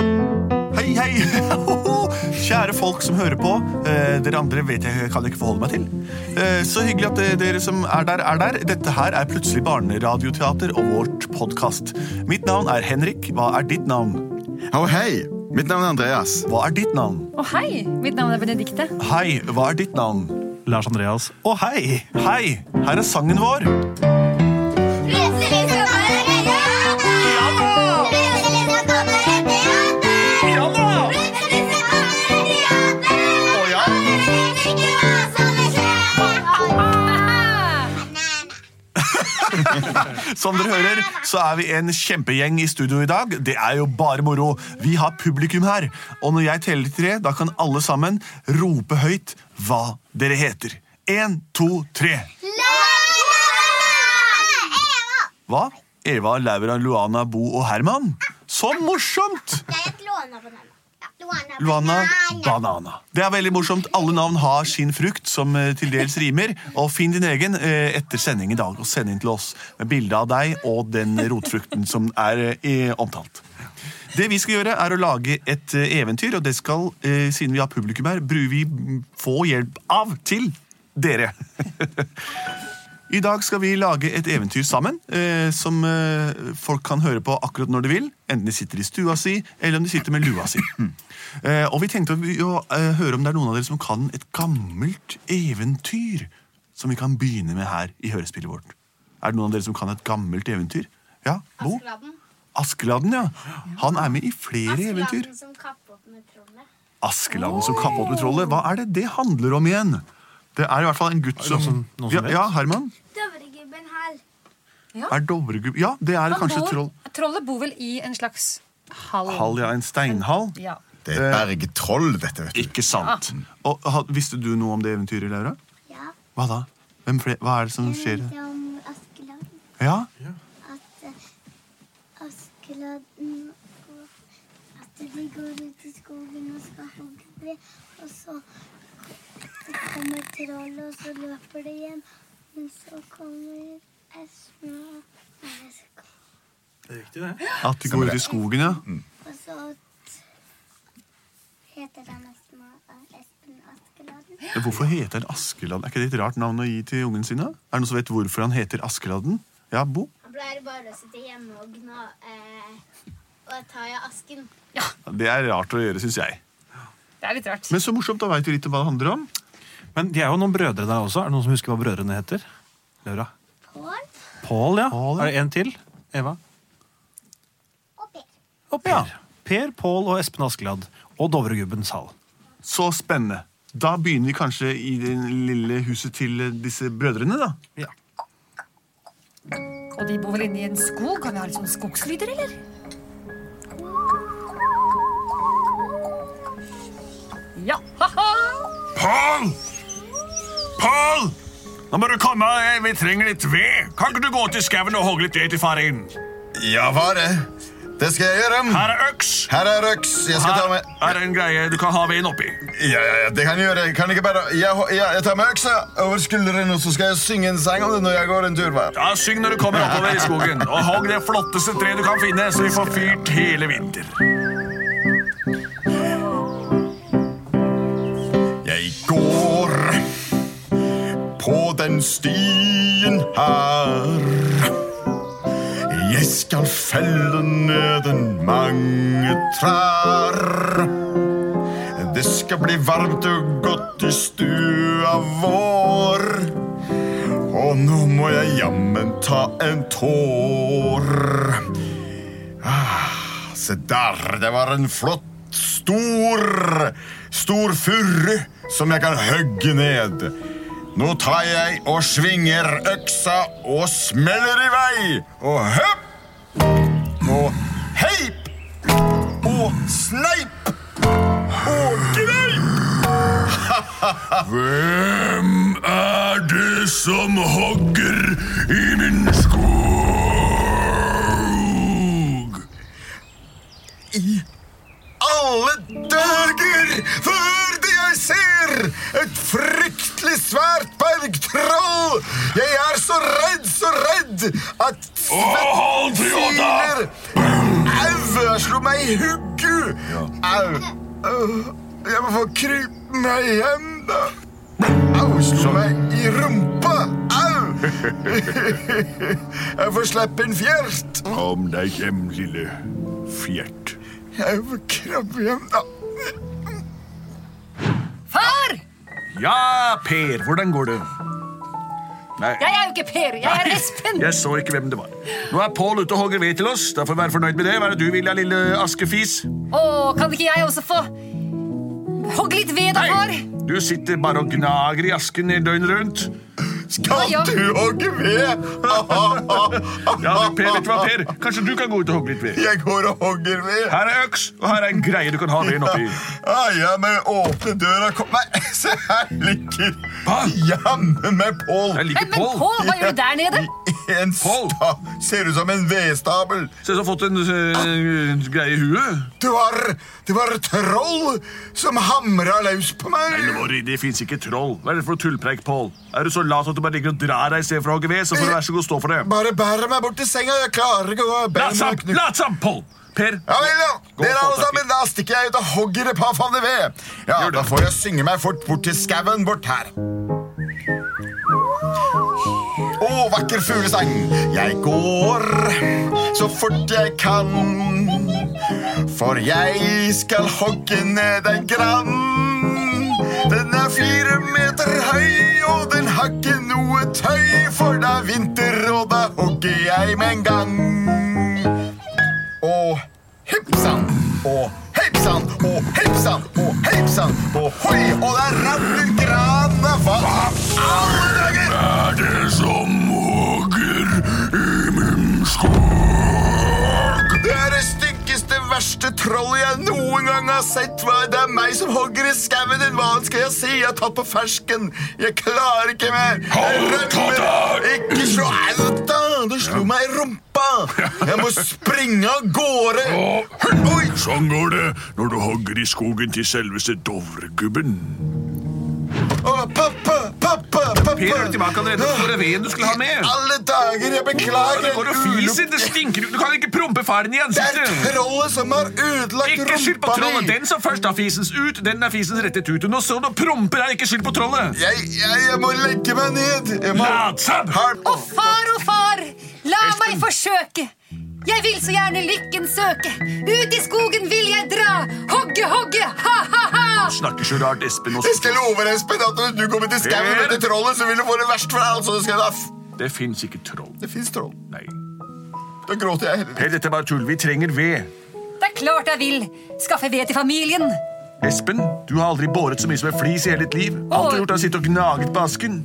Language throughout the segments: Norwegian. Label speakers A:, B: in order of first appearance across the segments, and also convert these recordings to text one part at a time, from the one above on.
A: Hei, hei! Hoho! Kjære folk som hører på. Eh, dere andre vet jeg kan jeg ikke forholde meg til. Eh, så hyggelig at eh, dere som er der, er der. Dette her er plutselig barneradioteater og vårt podkast. Mitt navn er Henrik. Hva er ditt navn?
B: Å, hei! Mitt navn er Andreas.
A: Hva er ditt navn?
C: Og hei, mitt navn er Benedikte.
A: Hei, hva er ditt navn?
D: Lars Andreas.
A: Å, hei! Hei! Her er sangen vår.
E: Plutselig så kommer det teater! Plutselig så kommer det teater! Plutselig så kommer det teater! Og dere vet ikke hva som vil skje!
A: Som dere hører, så er vi en kjempegjeng i studio i dag. Det er jo bare moro. Vi har publikum her, og når jeg teller til tre, da kan alle sammen rope høyt hva dere heter. Én, to, tre.
E: Lala! Eva!
A: Hva? Eva, Laura, Luana, Bo og Herman? Så morsomt!
E: Jeg het Luana Banana. Luana,
A: Luana Banana. Det er veldig morsomt. Alle navn har sin frukt, som eh, til dels rimer. Og finn din egen eh, etter sending i dag, og send inn til oss med bilde av deg og den rotfrukten som er eh, i- omtalt. Det vi skal gjøre, er å lage et eh, eventyr, og det skal, eh, siden vi har publikum her, bru vi mm, få hjelp av til dere. I dag skal vi lage et eventyr sammen, eh, som eh, folk kan høre på akkurat når de vil. Enten de sitter i stua si, eller om de sitter med lua si. Eh, og vi tenkte å, å eh, høre om det er noen av dere som kan et gammelt eventyr. Som vi kan begynne med her i hørespillet vårt. Er det noen av dere som kan et gammelt eventyr? Ja, Bo? Askeladden, ja. Han er med i flere eventyr.
E: som kappet med trollet.
A: Askeladden som kappet med trollet. Hva er det det handler om igjen? Det er i hvert fall en gutt som,
D: som- noen som
A: ja,
D: vet?
A: ja, Herman?
E: Dovregubben her.
A: Er Dovregubb Ja, det er
C: Han
A: kanskje
C: bor-
A: troll.
C: Trollet bor vel i en slags hall.
A: Hall, ja. En steinhall.
C: Ja.
B: Det
F: Eh.
B: er et bergtroll, dette, vet du.
A: Ikke sant. Og ha, Visste du noe om det eventyret, Laura?
E: Ja,
A: Hva da? Hvem fle Hva er det som skjer?
E: om Askeladden.
A: Ja?
E: at eh, Askeladden går- At de går ut i skogen og skal hogge ved, og så så kommer trollet, og så løper det igjen. Men så kommer Esma, nei, så kom-
A: At de går ut i skogen, ja?
E: og så t- heter han Esma eh, Espen Askeladden.
A: Men Hvorfor heter han Askeladden? Er ikke det et rart navn å gi til ungen sin? da? Er det noen som vet hvorfor han heter Askeladden? Ja, Bo?
E: Han pleier bare å sitte hjemme og gna eh, og ta i asken.
A: Det er rart å gjøre, syns jeg.
C: Det er litt rart.
A: Men så morsomt, da veit vi litt om hva det handler om.
D: Men de er jo noen brødre der også. Er det noen som husker hva brødrene heter? Laura.
E: Pål
D: Pål, ja.
A: Pål, ja.
D: Er det en til? Eva?
E: og Per.
D: Og Per. Per, Pål og Espen Askeladd. Og Dovregubbens hall.
A: Så spennende. Da begynner vi kanskje i det lille huset til eh, disse brødrene, da.
D: Ja.
C: Og de bor vel inne i en skog? Kan vi ha litt sånn skogslyder, eller? Ja, ha-ha!
F: Pål! Pål! Nå må du komme. eh, Vi trenger litt ved. Kan ikke du gå til skauen og hogge litt ved til far din?
B: Ja, hva er det? Det skal jeg gjøre.
F: Her er øks.
B: Her er røks. Jeg skal ta
F: Her
B: med
F: er en greie du kan ha veden oppi.
B: Ja, ja, ja, det kan jeg gjøre. Kan ikke bare Jeg, ho- ja, jeg tar med øksa over skulderen, og så skal jeg synge en sang om det når jeg går en tur. Hva?
F: Ja, Syng når du kommer oppover i skogen, og hogg det flotteste treet du kan finne, så vi får fyrt hele vinter.
B: Jeg går på den stien her. Jeg skal felle ned en mange trær. Det skal bli varmt og godt i stua vår. Og nå må jeg jammen ta en tår. Se der, det var en flott, stor, stor furre som jeg kan høgge ned. Nå tar jeg og svinger øksa og smeller i vei. Og høpp og heip og og sneip og greip. Hvem er det som hogger i min skog? I alle dager før det jeg ser et fryktelig svært bergtroll. Jeg er så redd, så redd at
A: hold
B: svett siler. Au, jeg slo meg i huggu. Au. Øh, Jeg må få krype meg hjem, da. Au, slo meg i rumpa. Au. Jeg får slippe en fjert.
A: Kom deg hjem, lille fjert.
B: Jeg må krabbe hjem, da.
C: Far!
A: Ja, Per, hvordan går det? Nei,
C: Jeg er jo ikke Per, jeg er Espen.
A: jeg så ikke hvem det var. Nå er Pål ute og hogger ved til oss. Da får vi være fornøyd med det. Hva er det du vil, da, lille askefis?
C: Å, kan ikke jeg også få Hogg litt ved, da, far.
A: Du sitter bare og gnager i asken i døgnet rundt.
C: Ja, ja.
B: Skal du hogge ved?
A: Ja, du, Per, vet du hva, Per? Kanskje du kan gå ut og hogge litt ved?
B: Jeg går og hogger ved.
A: Her er øks, og her er en greie du kan ha veden oppi.
B: Ah, ja, men åpne døra kom. Nei, se her ligger
A: Hva?
B: jammen meg
A: Jeg
B: Pål.
C: Men,
A: liker
C: men
A: Pål.
C: Pål, hva gjør du der nede?
B: En
A: Pål?
B: sta ser ut som en vedstabel.
A: Se, så har fått en eh, greie i huet.
B: Det var, det var troll som hamra løs på
A: Nei,
B: meg.
A: Lori, det fins ikke troll. Hva er det for noe tullpreik, Pål? Er du så lat at du bare ligger og drar deg i stedet for å hogge ved, så får du være så god stå for det.
B: Bare bærer meg bort til senga. Jeg klarer ikke å bære
A: Lat som!
B: meg knu-
A: Lat som, Pål! Per,
B: Ja vel, ja.
A: Gå og få
B: Dere alle
A: tak i-
B: sammen, da stikker jeg ut og hogger et par favner ved. Ja,
A: Gjør det.
B: Da får jeg synge meg fort bort til skauen bort her. Å, vakker fuglesang. Jeg går så fort jeg kan. For jeg skal hogge ned en gran. Den er fire meter høy, og den har ikke noe tøy. For det er vinter, og da hogger jeg med en gang. Og hipp sann, og hipp sann, og hipp sann, og hipp sann, og hoi, og der ramler grana Hva alle dager?
A: er det som hogger i min skog?
B: Det er det styggeste, verste trollet jeg noen gang har sett. Hva? Det er meg som hogger i skauen din. Hva skal jeg si? Jeg har tatt på fersken. Jeg klarer ikke mer. Jeg rømmer. Ikke slå alt, da. Du slo meg i rumpa. Jeg må springe av gårde. Oi!
A: Sånn går det når du hogger i skogen til selveste Dovregubben.
B: Å, pappa, pappa, pappa.
A: Per er jo tilbake allerede på den veden du skulle ha med.
B: Alle dager, jeg beklager.
A: Det går og fiser, det stinker ut. Du kan ikke prompe faren i
B: Det er
A: ansiktet.
B: trollet som har ødelagt
A: Ikke skyld på
B: rumpa
A: trollet.
B: mi.
A: Den som først har fisens ut, den er fisens rettet ut. Nå står du og promper her. Ikke skyld på trollet.
B: Jeg, jeg, jeg må legge meg ned. Jeg må...
A: Latsabb!
B: Har-
C: Å, far, å, far, la meg forsøke. Jeg vil så gjerne lykken søke. Ut i skogen vil jeg dra. Hogge, hogge, ha, ha, ha.
A: Snakker så rart, Espen.
B: Jeg
A: Også.
B: skal love deg, Espen, at når du kommer til skauen
A: Per!
B: med det trollet, så vil du få det verst for deg. Altså, det skal da f...
A: Det fins ikke troll.
B: Det fins troll.
A: Nei.
B: Da gråter jeg heller.
A: Per, dette er bare tull. Vi trenger ved.
C: Det er klart jeg vil. Skaffe ved til familien.
A: Espen, du har aldri båret så mye som en flis i hele ditt liv. Alt du har gjort, er å sitte og gnaget på asken.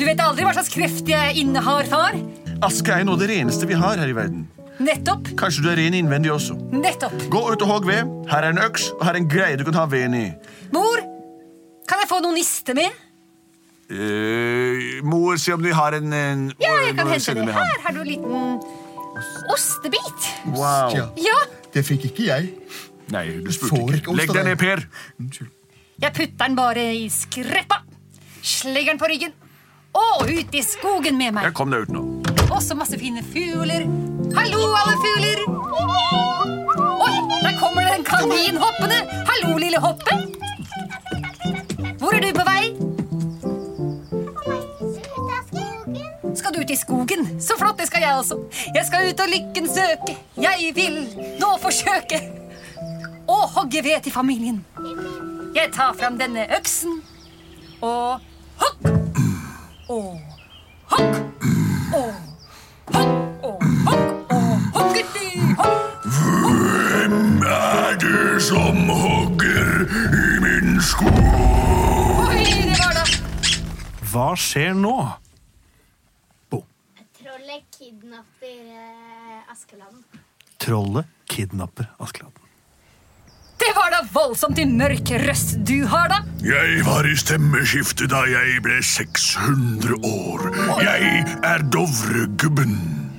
C: Du vet aldri hva slags kreft jeg innehar, far.
A: Aske er jo noe av det reneste vi har her i verden.
C: Nettopp,
A: Kanskje du er ren innvendig også.
C: nettopp.
A: Gå ut og hogg ved. Her er en øks, og her er en greie du kan ha veden i.
C: Mor, kan jeg få noe niste med?
G: Eh, mor, se om du har en, en
C: Ja, jeg kan
G: hvor-
C: hente
G: sender
C: det.
G: vi han?
C: Her har du en liten ostebit.
A: Wow.
B: Ja,
C: Ja,
B: det fikk ikke jeg.
A: Nei, du
B: Får
A: spurte
B: ikke
A: ikke.
B: ost
A: Legg
B: av
A: deg
B: deg.
A: ned, Per.
B: Unnskyld.
C: jeg putter den bare i skreppa. Slegger den på ryggen. Og ut i skogen med meg.
A: Jeg kom deg ut nå.
C: Og så masse fine fugler. Hallo, alle fugler! Oi, der kommer det en kanin hoppende! Hallo, lille hoppe! Hvor er du på vei?
E: Ut av skogen.
C: Skal du ut i skogen? Så flott, det skal jeg også. Jeg skal ut og lykken søke. Jeg vil nå forsøke å hogge ved til familien. Jeg tar fram denne øksen og hogg og hogg og hogg og hogg og hoggeti hogg.
A: Er det som hogger i min sko?
C: Oi, det var da.
D: Hva skjer nå?
E: Trollet kidnapper eh, Askeladden.
D: Trollet kidnapper Askeladden.
C: da voldsomt i mørk røst du har, da.
A: Jeg var i stemmeskiftet da jeg ble 600 år. Jeg er Dovregubben.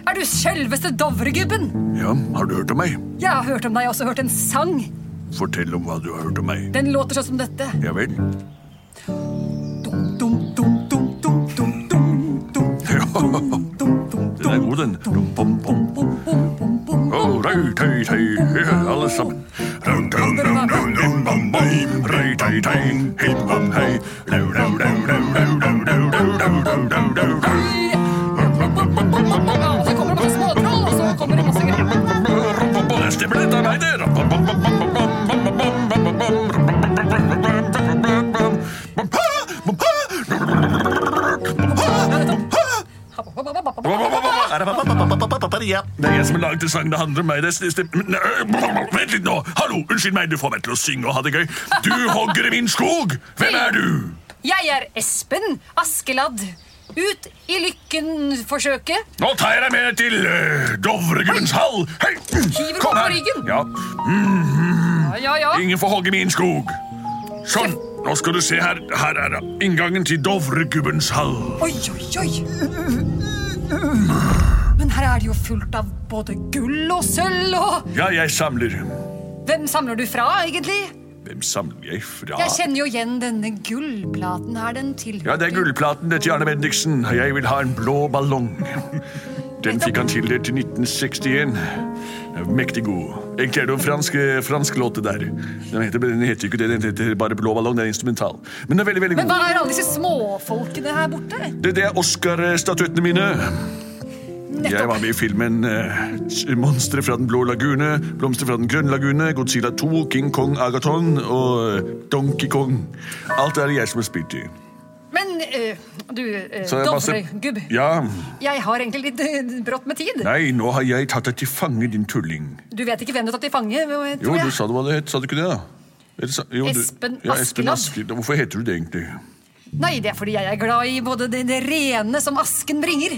C: Er du selveste Dovregubben?
A: Ja, har du hørt om meg?
C: Jeg har hørt om deg, jeg har også hørt en sang.
A: Fortell om hva du har hørt om meg.
C: Den låter sånn som dette.
A: Ja vel?
C: Dum, dum, dum, dum, dum, dum, dum, dum, dum, dum, dum,
A: Den er god, den. Rum, pom, pom.
C: bum, bum, bum, bum.
A: Å, røy, tøy, tøy, ja, alle sammen. Rum, dum, dum, dum, dum, bom, bom. Røy, tøy, tøy, him, bom, hei. Rau, rau, rau, rau, rau, rau, rau, rau, rau, rau, rau, rau, rau.
C: Ja, og så kommer det masse småtroll, og så kommer det masse greier.
A: Det stemmer, dette er meg, det. Rum, bom, bom, bom, bom, bom, bom, bom, bom, bom, bom, bom, rum, bom, bom, bom, bom, bom, bom, bom, bom, bom, pa, bom, pa, rum, bom,
C: Hva
A: bom, bom, bom, bom.
G: Ja.
A: Det er jeg som har laget den sangen. Det handler om meg. Det er, det er, men, øh, vent litt nå! Hallo, Unnskyld meg, du får meg til å synge og ha det gøy. Du hogger i min skog! Hvem er du?
C: Jeg er Espen Askeladd. Ut i lykken-forsøket.
A: Nå tar jeg deg med til øh, Dovregubbens hall. Hei!
C: Hiver
A: Kom her!
C: meg på ryggen.
A: Ja,
C: Ja, ja, ja.
A: ingen får hogge min skog. Sånn. Nå skal du se her. Her er inngangen til Dovregubbens hall.
C: Oi, oi, oi. Men her er det jo fullt av både gull og sølv og
A: Ja, jeg samler.
C: Hvem samler du fra, egentlig?
A: Hvem samler jeg fra?
C: Jeg kjenner jo igjen denne gullplaten her. Den tilhørte
A: Ja, det er gullplaten det til Arne Bendiksen. Jeg vil ha en blå ballong. Den fikk han tildelt i 1961. Mektig god. Egentlig er det jo en fransk, fransk låt det der. Den heter, den heter jo ikke det, den heter bare Blå ballong. Den er instrumental. Men den er veldig, veldig
C: Men hva
A: god.
C: er alle disse småfolkene her borte?
A: Det, det er Oscar-statuettene mine. Jeg var
C: Nettopp.
A: med i filmen uh, Monstre fra den blå lagune, Blomster fra den grønne lagune, Godzilla 2, King Kong Agaton og eh, Donkey Kong. Alt er det jeg som har spilt i.
C: Men eh, du, uh,
A: Så jeg masse-
C: Dovregubb,
A: Ja,
C: jeg har egentlig litt eh, brått med tid.
A: Nei, nå har jeg tatt deg til fange, din tulling.
C: Du vet ikke hvem du har tatt til fange? tror
A: Jo,
C: jeg.
A: du sa det hva det het, sa du ikke det? da? Eller sa- jo, du-
C: Espen
A: ja, Espen
C: Askeladd.
A: Askeladd. Hvorfor heter du det egentlig?
C: Nei, det er fordi jeg er glad i både det, det rene som asken bringer.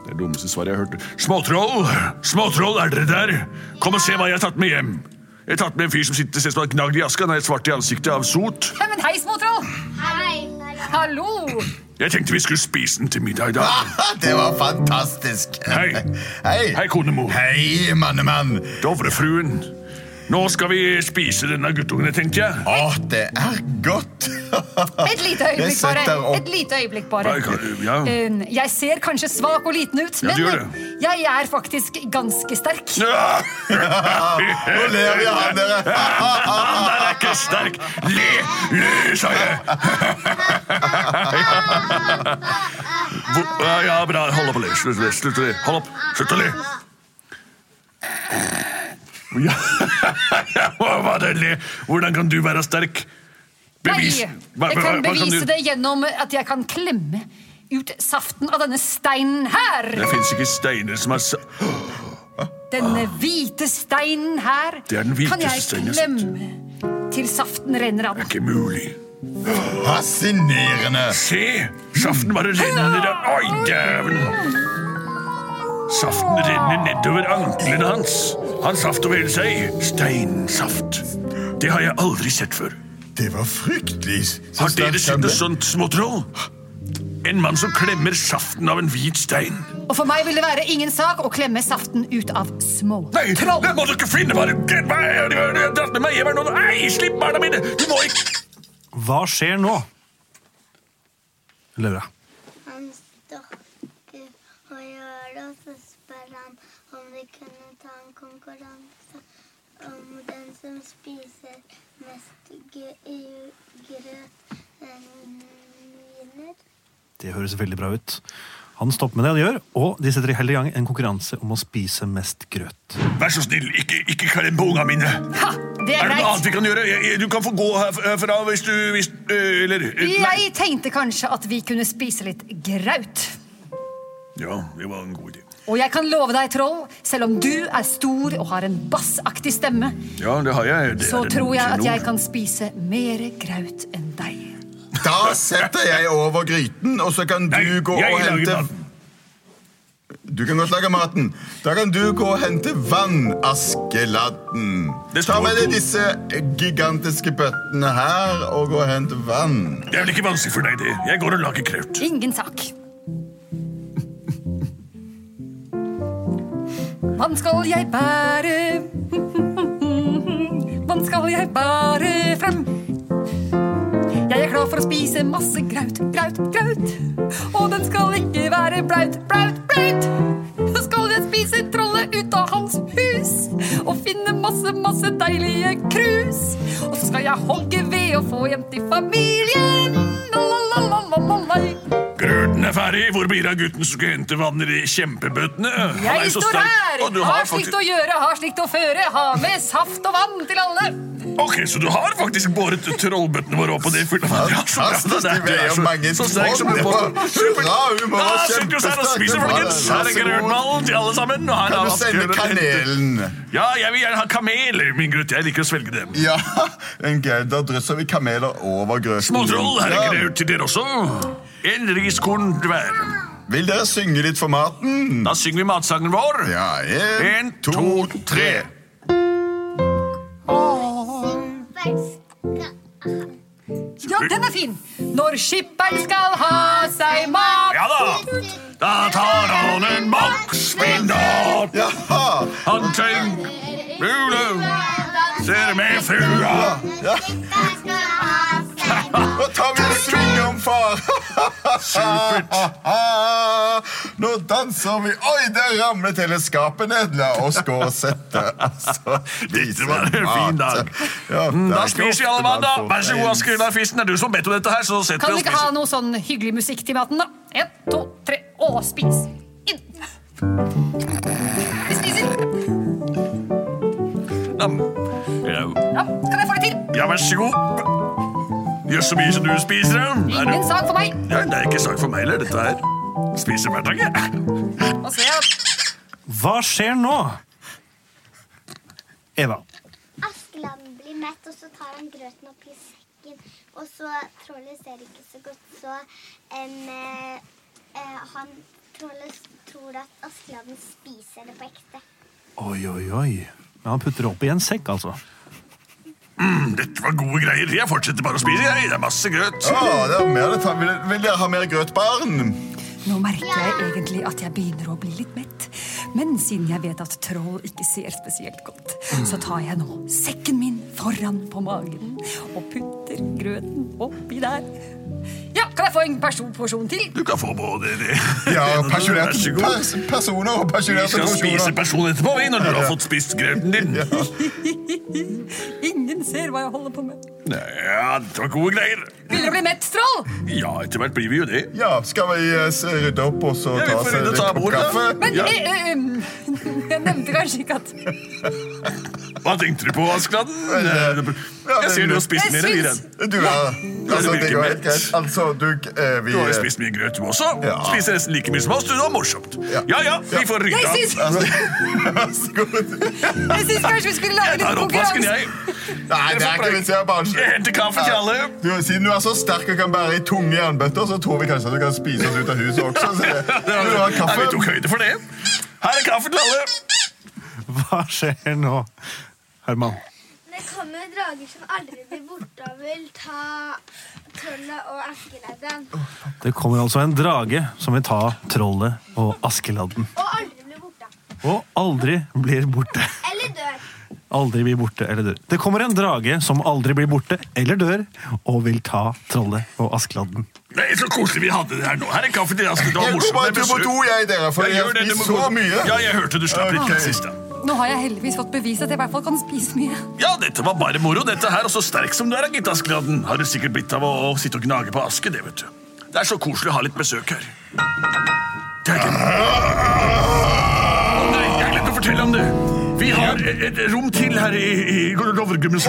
A: Det er det dummeste svaret jeg har hørt. Småtroll! Småtroll, er dere der? Kom og se hva jeg har tatt med hjem. Jeg har tatt med en fyr som sitter ser som en gnagd i aska. Han er svart i ansiktet av sot.
C: Ja, men hei, småtroll!
E: Hei!
C: Hallo!
A: Jeg tenkte vi skulle spise den til middag i dag.
B: Ah, Det var fantastisk.
A: Hei.
B: Hei.
A: Hei, konemor.
B: Hei, mannemann.
A: Dovrefruen. Nå skal vi spise denne guttungen, tenkte jeg.
B: Å, det er godt.
C: Et lite
B: Jeg
C: øyeblikk, bare.
B: setter opp-
C: Et lite øyeblikk, bare.
A: Hva kan du- ja.
C: Eh, Jeg ser kanskje svak og liten ut,
A: Ja,
C: men eh,
A: du gjør
C: jeg er faktisk ganske sterk.
B: Nå ler vi av dere.
A: Han der er ikke sterk! Le, le, sa jeg! Hvor- Ja, ja, bra. Hold opp å le. Slutt å le. Slutt å le. Hold opp. Slutt å le. Ja, hva var det le? Hvordan kan du være sterk? Bevis.
C: Nei, jeg kan bevise det gjennom at jeg kan klemme ut saften av denne steinen her.
A: Det fins ikke steiner som er sa...
C: Denne hvite steinen her
A: Det er den
C: kan
A: hviteste steinen
C: jeg
A: jeg har sett.
C: klemme til saften renner av
A: Det er
C: den.
A: ikke mulig.
B: Fascinerende.
A: Se! Saften bare renner ned der. Oi, dæven! Saften renner nedover anklene hans. Han saft over hele seg. Steinsaft. Det har jeg aldri sett før.
B: Det var fryktelig. Så
A: Har dere
B: sterk
A: sett noe
B: kjempe.
A: sånt, småtroll? En mann som klemmer saften av en hvit stein.
C: Og for meg vil det være ingen sak å klemme saften ut av små
A: Nei,
C: troll.
A: det må dere finne! Hva er det hva er det- hva er det jeg har dratt med meg hjem? her nå? Nei, slipp barna mine! Du må ikke
D: Hva skjer nå? Laura.
E: Han stokker og gjør det, og så spør han om vi kunne ta en konkurranse om den som spiser mest gø- i- grøt, eh, vinner.
D: Det høres veldig bra ut. Han stopper med det han gjør, og de setter heller i gang en konkurranse om å spise mest grøt.
A: Vær så snill, ikke, ikke klem på unga mine.
C: Ha, det
A: Er
C: er
A: det noe annet
C: greit.
A: vi kan gjøre? Jeg- jeg- Du kan få gå her- herfra hvis du hvis, øh, Eller øh, nei.
C: Jeg tenkte kanskje at vi kunne spise litt graut.
A: Ja, det var en god idé.
C: Og jeg kan love deg, troll, selv om du er stor og har en bassaktig stemme,
A: Ja, det har jeg. Det
C: så
A: er en
C: tror jeg at
A: tenor.
C: jeg kan spise mer graut enn deg.
B: Da setter jeg over gryten, og så kan du
A: Nei,
B: gå
A: jeg
B: og
A: lager
B: hente
A: maten.
B: Du kan godt lage maten. Da kan du gå og hente vann, Askeladden.
A: Det
B: Ta
A: står
B: med
A: to-
B: deg disse gigantiske bøttene her og gå og hente vann.
A: Det er vel ikke vanskelig for deg, det. Jeg går og lager kraut.
C: Ingen sak. Vann skal jeg bære Vann skal jeg bære frem Jeg er klar for å spise masse graut, graut, graut Og den skal ikke være blaut, blaut, blaut Så skal jeg spise trollet ut av hans hus Og finne masse, masse deilige krus Og så skal jeg hogge ved og få hjem til familien La, la, la, la, la, la.
A: Grøten er ferdig. Hvor blir det av gutten som skal hente vann i de kjempebøttene? Eh, Han er
C: Jeg
A: jo så
C: står
A: sterk.
C: her!
A: Og du
C: har
A: faktisk-
C: slikt å gjøre, har slikt å føre. Ha med saft og vann til alle.
A: Ok, Så du har faktisk båret trollbøttene våre opp, og det fyller vann? Ja, så bra.
B: Fantastisk,
A: Det er-
B: vi
A: du
B: er
A: er
B: jo mange
A: så, så sterk som en
B: tonn.
A: båt. Supert.
B: Hurra, vi må
A: Da
B: være
A: sitter vi oss her og spiser,
B: kjempesterke.
A: folkens. Her er
B: Vær så god.
A: grøtmalen til alle sammen. Og her
B: Kan
A: er
B: du sende
A: Asbjørn.
B: kanelen?
A: Ja, jeg vil gjerne ha kameler, min gutt. Jeg liker å svelge dem.
B: Ja, en gøy. Da drysser vi kameler over grøten.
A: Småtroll, her er
B: Ja.
A: grøt til dere også. En riskorn hver.
B: Vil dere synge litt for maten?
A: Da synger vi matsangen vår.
B: Mm. Ja, en,
A: En, to, tre.
C: Ja, den er fin. Når skipperen skal ha seg mat.
A: Ja da! Da tar han en makspinat.
B: Jaha!
A: Han tenker Ule, ser med frua.
B: Nå tar vi en sving om far! Nå danser vi. Oi, der ramlet hele skapet ned. La oss gå og sette oss og spise
A: Dette var en fin
B: mat.
A: dag.
B: Ja,
A: Mm,
B: det er
A: Da
B: ikke
A: spiser vi alle
B: ofte
A: mann, da.
B: man får
A: Vær så god,
B: en-
A: Asker Larfisen. Det er du som har bedt om dette her, så setter vi
C: Kan vi
A: og
C: ikke ha
A: spiser.
C: noe sånn hyggelig musikk til maten, da? En, to, tre, og spis. Inn. Vi spiser.
A: Nam. Ja,
C: Ja, kan jeg få det til?
A: Ja, vær så god. Gjør så mye som du spiser, ja. Er det-
C: Ingen sak for meg.
A: Ja, det er ikke sak for meg heller, dette her. Spiser hver dag, jeg.
C: Og så ja.
D: Hva skjer nå? Eva.
E: Askeladden blir mett, og så tar han grøten opp i sekken. Og så trollet ser ikke så godt, så em, eh, eh, han trollet tror at Askeladden spiser det på ekte.
D: Oi, oi, oi. Men han putter det opp i en sekk, altså.
A: Dette var gode greier. Jeg fortsetter bare å spise, jeg. Det er masse grøt.
B: Å, det er mer det tar. Vil, vil dere ha mer grøt, barn?
C: Nå merker jeg egentlig at jeg begynner å bli litt mett. Men siden jeg vet at troll ikke ser spesielt godt, så tar jeg nå sekken min foran på magen og putter grøten oppi der. Ja, kan jeg få en person porsjon til?
A: Du kan få både det.
B: Ja,
A: det- det- Vær
B: pensjonerte
A: så god.
B: pers personer og
A: Vi
B: pensjonerte
A: skal spise
B: personer.
A: person etterpå, vi, når du har fått spist grøten din.
C: Ingen ser hva jeg holder på med.
A: Ja, det var gode greier.
C: Begynner å bli mett, troll!
A: Ja, etter hvert blir vi jo det.
B: Ja, skal vi eh, s- rydde opp og så
A: Ja, vi
B: ta
A: får
B: oss
A: rydde og
B: litt
A: ta
B: kopp
A: bordet, da.
B: kaffe?
C: Men
A: Ja.
C: eh, eh, um, jeg nevnte kanskje ikke at
A: Hva tenkte du på, Askeladden? Eh,
B: ja,
A: Jeg ser du har spist
C: Jeg
A: mer enn vi,
C: syns-
A: Ren.
B: Du er Altså,
A: virker
B: det går helt
A: mett.
B: greit. Altså, du eh, Vi
A: Du har jo
B: eh,
A: spist mye grøt, du også.
B: Ja.
A: Spiser nesten like mye som oss. Du, det var morsomt.
B: Ja.
A: Ja ja, vi
B: Ja.
A: får rydda.
C: Jeg syns, jeg
B: Vær så god.
C: syns kanskje vi skulle lage
A: Jeg
C: litt
A: tar oppvasken,
C: konkurranse.
A: jeg.
B: Nei, det er ikke vits i å
A: Jeg
B: bare
A: henter kaffe til alle.
B: Du, siden du er så sterk og kan bære i tunge jernbøtter, så tror vi kanskje at du kan spise oss ut av huset også. Så det, du
A: Nei,
B: har
A: vi tok
B: kaffe.
A: høyde for det. Her er kaffe til alle.
D: Hva skjer nå, Herman?
E: Det kommer drager som aldri blir borte og vil ta trollet og askeladden.
D: Det kommer altså en drage som vil ta trollet og Askeladden.
E: Og aldri blir borte.
D: Og aldri blir borte.
E: Eller dør.
D: Aldri blir borte eller dør. Det kommer en drage som aldri blir borte eller dør, og vil ta trollet og Askeladden.
A: Nei, Så koselig vi hadde det her nå. Her er kaffe til deg. Astrid. Det var
B: Jeg går bare
A: morsomt.
B: tur på do, jeg, dere, for
A: Jeg
B: jeg
A: gjør
B: har
A: det, du må
B: spist
A: gå.
B: så mye.
A: Ja, jeg hørte du slapp litt
B: Ok.
A: den siste.
C: Nå har jeg heldigvis fått bevist at jeg i hvert fall kan spise mye.
A: Ja, dette var bare moro, dette her, og så sterk som du er, gitt Askeladden. Har du sikkert blitt av å, å sitte og gnage på aske, det, vet du. Det er så koselig å ha litt besøk her. Det er ikke... Å nei, jeg glemte å fortelle om det. Vi har et, et rom til her i, i Lovregummens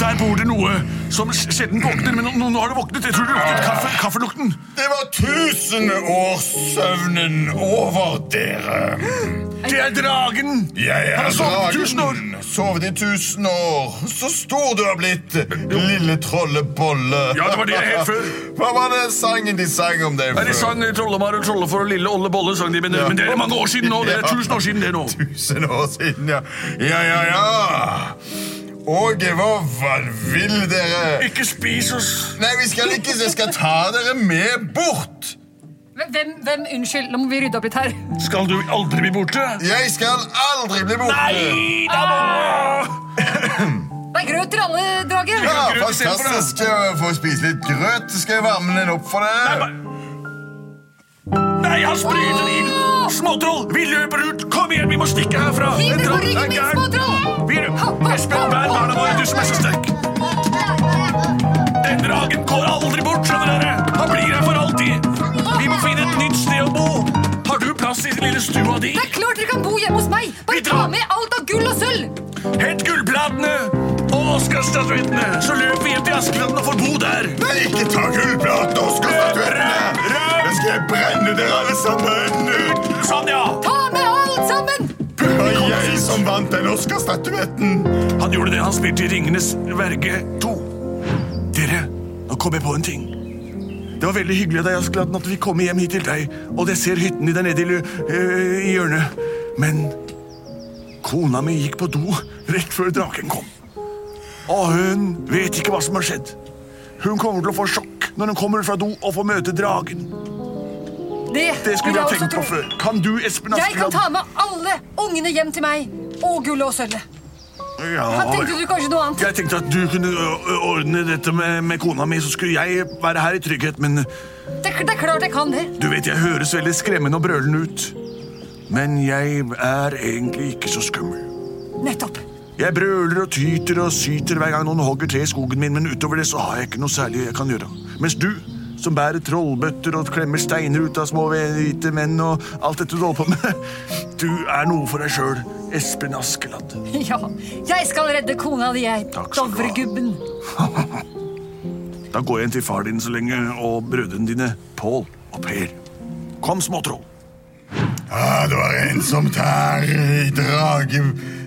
A: Der bor det noe som sjelden våkner, men nå, nå har det våknet. Jeg tror det luktet kaffe, kaffelukten.
B: Det var tusen års søvnen over dere.
A: Det er dragen!
B: Jeg
A: Han
B: er
A: har sovet i tusen år.
B: dragen, sovet i tusen år. Så stor du har blitt, lille trollebolle.
A: Ja, det var det jeg het før.
B: Hva var det sangen de sang om deg
A: Ja, de sang Trollemar og Trollefar og Lille Olle Bolle. sang de, Men, men det er mange år siden nå. Det er
B: Ja.
A: tusen år siden det nå.
B: Tusen år siden, ja. Ja, ja, ja. Åge, hva, hva vil dere?
A: Ikke spis oss.
B: Nei, vi skal ikke, jeg skal ta dere med bort.
C: Hvem, hvem, unnskyld, nå må vi rydde opp litt her.
A: Skal du aldri bli borte?
B: Jeg skal aldri bli borte.
A: Nei, da må
C: Det er grøt til alle, dragen.
B: Ja,
A: Grøt istedenfor, da.
B: fantastisk å få spise litt grøt. Skal jeg varme den opp for deg?
A: Nei, han sprøyter ild! Småtroll, vi løper ut! Kom igjen, vi må stikke herfra!
C: Hinder
A: Troll
C: for
A: er
C: ryggen min,
A: gæren.
C: småtroll!
A: Vi løper. Espen, vær barna våre, du som er så sterk. Den dragen går aldri bort, skjønner dere. Han blir her for alltid. Vi må finne et nytt sted å bo. Har du plass i lille stua di?
C: Det er klart dere kan bo hjemme hos meg.
A: Vi
C: Bare
A: drar.
C: ta med alt av gull og sølv.
A: Hent gullplatene og Oscar-statuettene, så løper vi hjem til Askeladden og får bo der.
B: Nei, ikke ta gullplaten og
A: Rød,
B: skuffatuettene!
A: rød.
B: Da skal jeg brenne dere alle sammen ut!
A: Sånn, ja.
C: Ta med alt sammen.
B: Det var jeg som vant den Oscar-statuetten!
A: Han gjorde det han spilte i Ringenes verge 2. Dere, nå kom jeg på en ting. Det var veldig hyggelig av deg, Askeladden, at vi kom hjem hit til deg. Og jeg ser hytten din der nede i, lu- øh, i hjørnet. Men kona mi gikk på do rett før draken kom. Og hun vet ikke hva som har skjedd. Hun kommer til å få sjokk når hun kommer fra do og får møte dragen.
C: Det,
A: Det skulle vi
C: vil jeg
A: ha
C: også
A: tenkt på
C: tro.
A: før. Kan du, Espen
C: Jeg kan ta
A: Askeladden?
C: med alle ungene hjem til meg. Og gullet og sølvet.
A: Ja,
C: Hva tenkte du kanskje noe annet?
A: Jeg tenkte at du kunne ø, ø, ordne dette med, med kona mi, så skulle jeg være her i trygghet, men
C: Det, det er klart jeg kan det.
A: du vet jeg høres veldig skremmende og brølende ut. Men jeg er egentlig ikke så skummel.
C: Nettopp.
A: Jeg brøler og tyter og syter hver gang noen hogger tre i skogen min, men utover det så har jeg ikke noe særlig jeg kan gjøre. Mens du, som bærer trollbøtter og klemmer steiner ut av små hvite menn og alt dette du holder på med, du er noe for deg sjøl, Espen Askeladd.
C: Ja, jeg skal redde kona di, jeg.
A: Takk skal du ha.
C: Dovregubben.
A: Da går jeg inn til far din så lenge, og brødrene dine, Pål og Per. Kom, småtroll.
B: Ah, det var en som tær i, drage,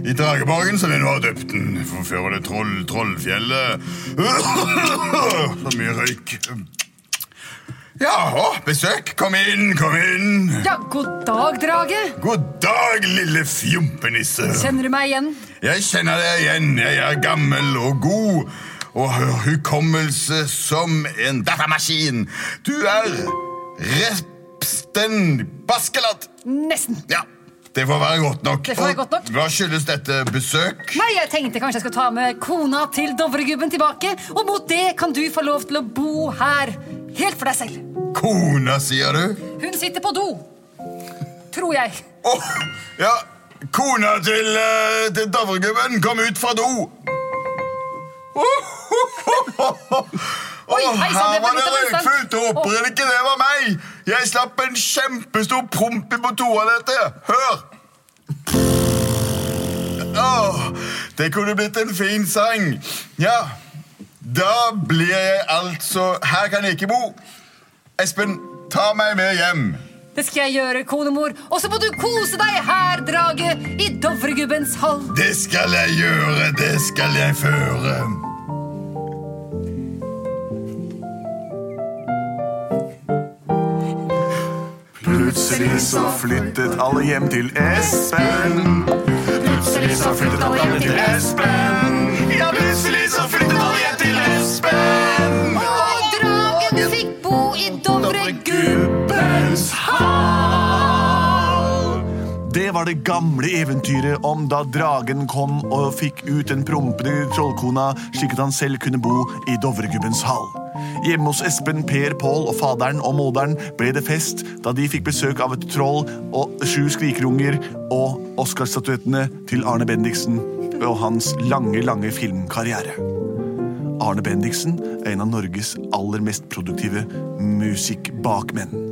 B: i Drageborgen, som vi nå har døpt den. For før var det troll, Trollfjellet. Så mye røyk. Ja, å, besøk. Kom inn, kom inn.
C: Ja, god dag, drage.
B: God dag, lille fjompenisse.
C: Kjenner du meg igjen?
B: Jeg kjenner deg igjen. Jeg er gammel og god og har hukommelse som en datamaskin. Du er Repsten Baskelat.
C: Nesten.
B: Ja, det får være godt nok.
C: Det får være godt nok.
B: Hva skyldes dette besøk?
C: Nei, jeg tenkte kanskje jeg skulle ta med kona til Dovregubben tilbake, og mot det kan du få lov til å bo her, helt for deg selv.
B: Kona, sier du?
C: Hun sitter på do. Tror jeg.
B: Åh, ja. Kona til, uh, til Dovregubben kom ut fra do. Åh,
C: Oi, hei,
B: her
C: sann, det
B: var
C: var
B: det
C: litt av en stand.
B: røykfullt! og
C: Åh.
B: Håper ikke det var meg! Jeg slapp en kjempestor promp på toalettet. Hør! Åh, det kunne blitt en fin sang. Ja, da blir jeg altså Her kan jeg ikke bo. Espen, ta meg med hjem.
C: Det skal jeg gjøre, konemor. Og så må du kose deg her, drage, i Dovregubbens hall.
B: Det skal jeg gjøre, det skal jeg føre.
G: Plutselig så flyttet alle hjem til Espen. Plutselig så flyttet alle hjem til Espen. Ja, plutselig så flyttet alle hjem til Espen.
C: Og dragen fikk bo i Dovregubben.
G: Gubbens hall. Det var det gamle eventyret om da dragen kom og fikk ut den prompende trollkona, slik at han selv kunne bo i Dovregubbens hall. Hjemme hos Espen, Per, Pål og faderen og moderen ble det fest da de fikk besøk av et troll og sju skrikerunger og Oscarstatuettene til Arne Bendiksen og hans lange, lange filmkarriere. Arne Bendiksen er en av Norges aller mest produktive musikkbakmenn.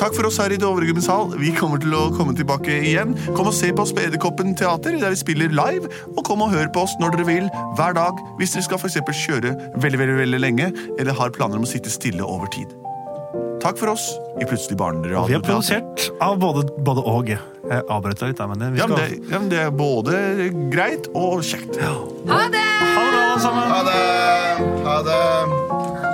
G: Takk for oss her i Dovregubbens hall. Vi kommer til å komme tilbake igjen. Kom og se på oss på Edderkoppen teater, der vi spiller live. Og kom og hør på oss når dere vil, hver dag, hvis dere skal for eksempel kjøre veldig, veldig, veldig lenge, eller har planer om å sitte stille over tid.
A: Takk for oss i Plutselig barneradio.
D: Og vi er produsert av både, både og. Jeg avbrøt deg litt der, men vi
A: Ja, men
D: skal
A: det, ja, men det er både greit og kjekt.
C: Ha det!
D: Ha det bra, alle sammen!
B: Ha det! Ha det!
H: Ha